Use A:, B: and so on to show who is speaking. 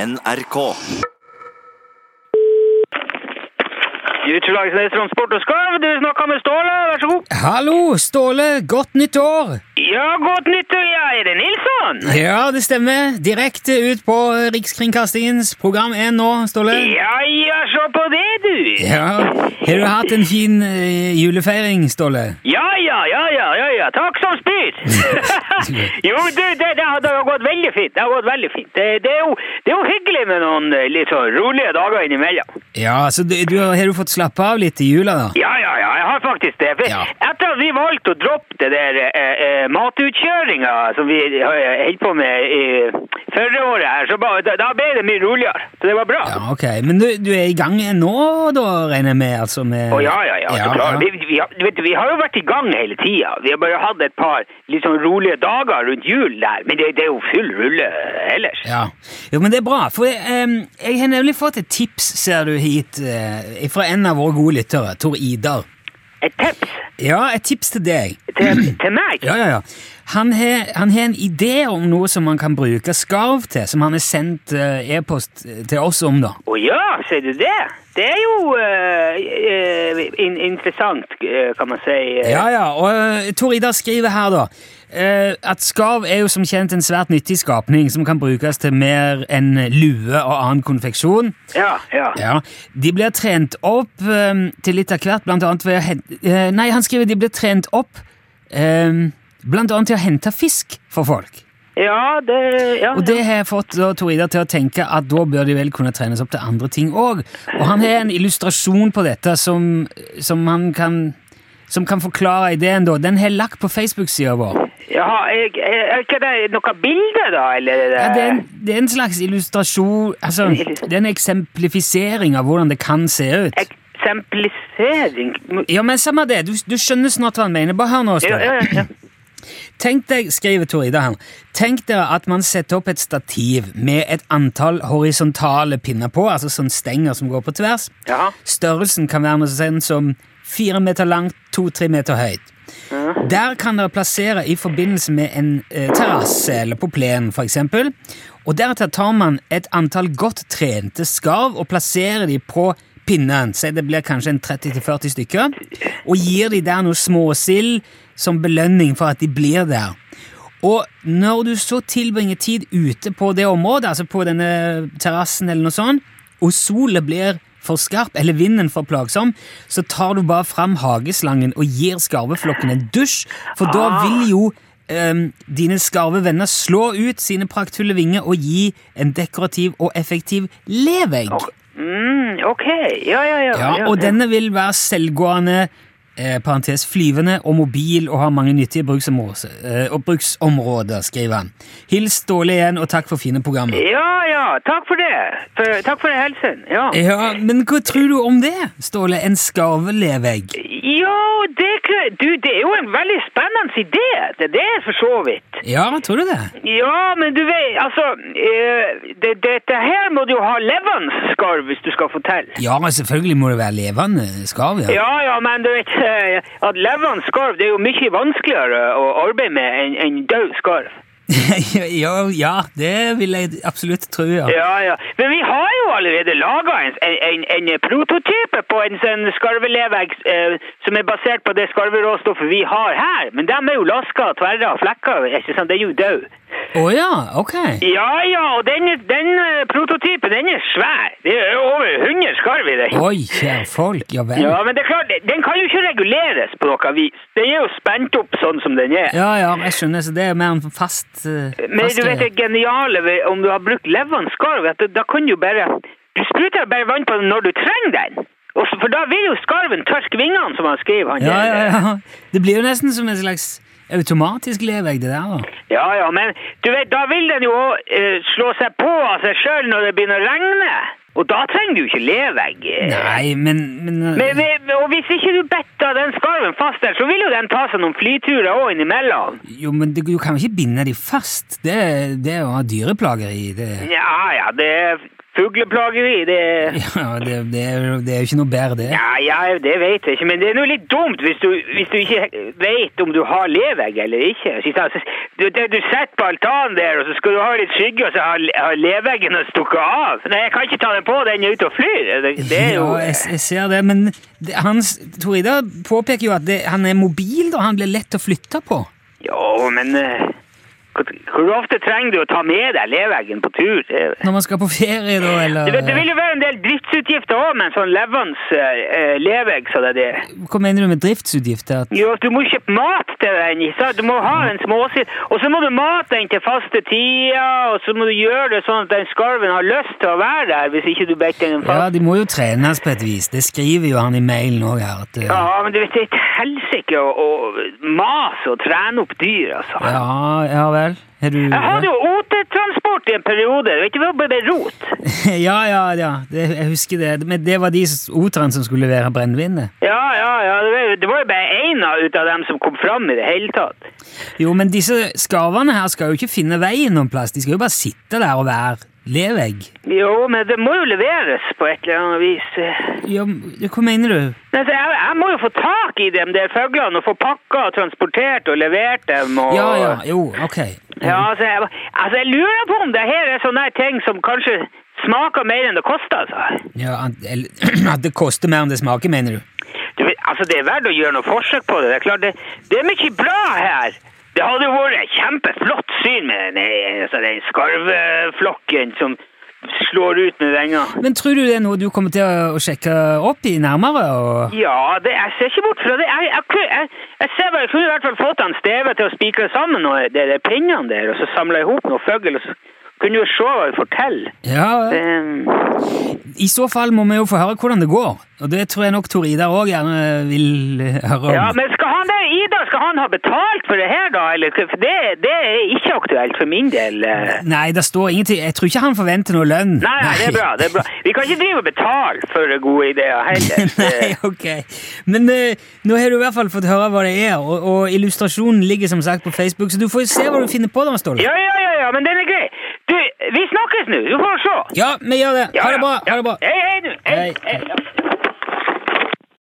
A: NRK.
B: Utslagsnes Transport og Skarv, du snakker med Ståle, vær så god.
C: Hallo, Ståle. Godt nytt år!
B: Ja, godt nyttår, ja, er det Nilsson?
C: Ja, det stemmer. Direkte ut på Rikskringkastingens program 1 nå, Ståle.
B: Ja, ja, se på det, du.
C: Ja, Har du hatt en fin eh, julefeiring, Ståle?
B: Ja, ja, ja, ja, ja, ja. takk som spyr. jo, du, det, det, har- det har gått veldig fint, det har gått veldig fint. Det, det, er, jo, det er jo hyggelig med noen eh, litt sånn rolige dager innimellom.
C: Ja, så du, du, Har du fått slappe av litt i jula, da?
B: Ja, ja, ja, jeg har faktisk det. For
C: Ja.
B: Etter at vi valgte å droppe det der eh, eh, matutkjøringa som vi eh, holdt på med i forrige året her, så ba, da, da ble det mye roligere. Så det var bra.
C: Ja, ok. Men du, du er i gang ennå, da, regner jeg med? altså med...
B: Å, ja, ja, ja. så klart. Vi, vi, har- du vet, vi har jo vært i gang hele tida. Vi har bare hatt et par litt sånn rolige dager rundt jul der. Men det, det er jo full rulle ellers.
C: Ja. Jo, men det er bra, for em, jeg har nemlig fått et tips, ser du, hit eh, fra en av våre gode lyttere, Tor Idar.
B: Et tips
C: Ja, et tips til deg.
B: til, til meg.
C: Ja, ja, ja. Han har, han har en idé om noe som man kan bruke skarv til, som han har sendt eh, e-post til oss om, da.
B: Å ja, sier du det? Det er jo eh, eh, in, interessant, eh, kan man si. eh.
C: Ja, ja, og eh, Tor Idar skriver her, da, eh, at skarv er jo som kjent en svært nyttig skapning som kan brukes til mer enn lue og annen konfeksjon.
B: ja, ja.
C: Ja, De blir trent opp eh, til litt av hvert, blant annet ved å hente eh, Nei, han skriver de blir trent opp eh, blant annet til å hente fisk for folk.
B: Ja, det ja,
C: Og det har jeg fått da, Torida til å tenke at da bør de vel kunne trenes opp til andre ting òg. Og han har en illustrasjon på dette som, som han kan som kan forklare ideen, da. Den har jeg lagt på Facebook-sida vår.
B: Jaha, jeg- er er ikke det noe bilde, da? Eller,
C: Ja, det, er en, det er en slags illustrasjon Altså, det er en eksemplifisering av hvordan det kan se ut.
B: Eksemplisering
C: Ja, men samme det. Du, du skjønner snart hva han mener. Bare hør nå.
B: ja,
C: Ståle.
B: ja, ja.
C: Tenk deg, skriver Torida her, tenk dere at man setter opp et stativ med et antall horisontale pinner på, altså sånn stenger som går på tvers.
B: Ja.
C: Størrelsen kan være noe sånn som fire meter langt, to-tre meter høyt. Der kan dere plassere i forbindelse med en eh, terrasse eller på plenen for eksempel, og deretter tar man et antall godt trente skarv og plasserer de på pinnen, så det blir kanskje en 30-40 stykker, og gir de der noe småsild som belønning for at de blir der. Og når du så tilbringer tid ute på det området, altså på denne terrassen eller noe sånt, og solen blir for skarp eller vinden for plagsom, så tar du bare fram hageslangen og gir skarveflokken en dusj, for da vil jo ehm, dine skarve venner slå ut sine praktfulle vinger og gi en dekorativ og effektiv levegg.
B: Mm, ok. Ja, ja, ja.
C: Ja, og denne vil være selvgående, eh, parentes flyvende og mobil og har mange nyttige bruksområder, eh, og bruksområder, skriver han. Hils Ståle igjen, og takk for fine programmer.
B: Ja, ja. Takk for det. For, takk for helsen. Ja.
C: Ja, men hva tror du om det, Ståle? En skarvelevegg?
B: Jo, det, kunne- du, det er jo en veldig spennende idé. Det, det er for så vidt.
C: Ja, tror du det?
B: Ja, men du vet, altså eh, det, Dette her må du jo ha levende skarv hvis du skal fortelle.
C: Ja, selvfølgelig må det være levende skarv, ja.
B: Ja, ja, men du vet eh, at levende skarv det er jo mye vanskeligere å arbeide med enn en død skarv.
C: ja, ja, det vil jeg absolutt tro, ja.
B: Ja, ja. Men vi har jo allerede laga en, en, en, en prototype på en sånn skarvelevegg eh, som er basert på det skarveråstoffet vi har her. Men de er jo laska og tverra og flekka. Ikke sant? Den er jo død.
C: Å ja, ok.
B: Ja, ja, og den, den eh, prototypen den er svær. Det er over 100 skarv i den.
C: Oi, kjære folk, ja vel.
B: Ja, men det er klart, den kan jo ikke reguleres på noe vis. Den er jo spent opp sånn som den er.
C: Ja, ja, jeg skjønner, så det er mer en fast... eh,
B: Men
C: fast
B: du vet
C: greie.
B: det geniale ved, om du har brukt levende skarv, at da kan du bare Du spruter bare vann på den når du trenger den. Og så- for da vil jo skarven tørke vingene, som han skriver. Han
C: Ja,
B: der.
C: ja, ja. Det blir jo nesten som en slags automatisk levegg, det der. da.
B: ja, ja, Men du vet, da vil den jo også, eh, slå seg på av seg sjøl når det begynner å regne. Og da trenger du jo ikke levegg. eh.
C: Nei, men, men,
B: Men, men, og hvis ikke du bitter den skarven fast der, så vil jo den ta seg noen flyturer òg innimellom.
C: Jo, men du, du kan jo ikke binde de fast. Det, det å ha dyreplageri, det
B: Ja ja, det er fugleplageri, det er
C: Ja, det, det, er, jo- det er jo ikke noe bedre, det.
B: Ja, ja, det vet jeg ikke, men det er noe litt dumt hvis du, hvis du ikke vet om du har levegg eller ikke. Så sier han, Du, det- du setter på altanen der, og så skal du ha litt skygge, og så har, har leveggen stukket av. Nei, jeg kan ikke ta den på, den er ute og flyr. Det, det er jo...
C: Ja, jeg, jeg ser det, men det, hans, Tor Idar påpeker jo at det, han er mobil, og han blir lett å flytte på.
B: Jo, men eh, hvor, hvor ofte trenger du å ta med deg leveggen på tur? Det-
C: Når man skal på ferie, da,
B: Du
C: eller
B: vet, det vil jo være en del driftsutgifter òg med en sånn levende eh, levegg. Så det er det.
C: Hva mener du med driftsutgifter? At-
B: Jo, altså, du må kjøpe mat til den. ikke sant? Du må ha en småsild. Og så må du mate den til faste tider, og så må du gjøre det sånn at den skarven har lyst til å være der, hvis ikke du beiter den
C: Ja,
B: fast.
C: de må jo trenes på et vis. Det skriver jo han i mailen òg her. At, eh,
B: Ja, men du vet, det er et helsike å, å mase og trene opp dyr, altså.
C: ja, ja vel. Har du
B: Jeg hadde jo otetransport i en periode. Vet du hva det ble rot?
C: Ja, ja, ja. Det, jeg husker det. Men det var de s- oterne som skulle levere brennevinet.
B: Ja, ja, ja. Det var, det var jo bare én av- ut av dem som kom fram i det hele tatt.
C: Jo, men disse skarvene her skal jo ikke finne veien noen plass. De skal jo bare sitte der og være levegg.
B: Jo, men det må jo leveres på et eller annet vis. eh.
C: Ja, men hva mener du?
B: Men så jeg, jeg må jo få tak i dem der fuglene og få pakka og transportert og levert dem. Og,
C: Ja, ja, jo, ok.
B: Ja, altså, jeg, altså, jeg lurer på om det her er sånne ting som kanskje smaker mer enn det koster, altså.
C: Ja, at, eller, at det koster mer enn det smaker, mener du?
B: Du, vet, altså, det er verdt å gjøre noe forsøk på det. Det er klart, det, det er mye bra her. Det hadde jo vært et kjempeflott syn med den, eh, altså, den skarveflokken som slår ut med venga.
C: Men tror du det er noe du kommer til å, å sjekke opp i nærmere? Og...
B: Ja, det, jeg ser ikke bort fra det. Jeg, jeg, kunne- jeg, jeg ser bare, jeg kunne i hvert fall fått han Steve til å spikre sammen noe, det, det pinnene der, og så samle ihop noe fugl, og så kunne jo se hva vi forteller.
C: Ja,
B: Um,
C: I så fall må vi jo få høre hvordan det går. Og det tror jeg nok Tor Idar òg gjerne vil eh, høre om.
B: ja, men skal han der, Ida, skal han ha betalt for det her da, eller? For det, det er ikke aktuelt for min del. eh.
C: Nei, det står ingenting. Jeg tror ikke han forventer noe lønn.
B: Nei, nei, det er bra, det er bra. Vi kan ikke drive og betale for gode ideer heller. Eh,
C: Nei, ok. Men eh, nå har du i hvert fall fått høre hva det er, og, og illustrasjonen ligger som sagt på Facebook, så du får jo se hva du finner på da, Ståle.
B: Ja, ja, ja, ja, men den er grei. Du, vi snakkes nå, du får se.
C: Ja, vi gjør det.
B: Ja,
C: Ha det bra.
B: ja.
C: Ha det bra.
B: Hei, hei, du. Hei,
C: Hei.
B: hei. ja.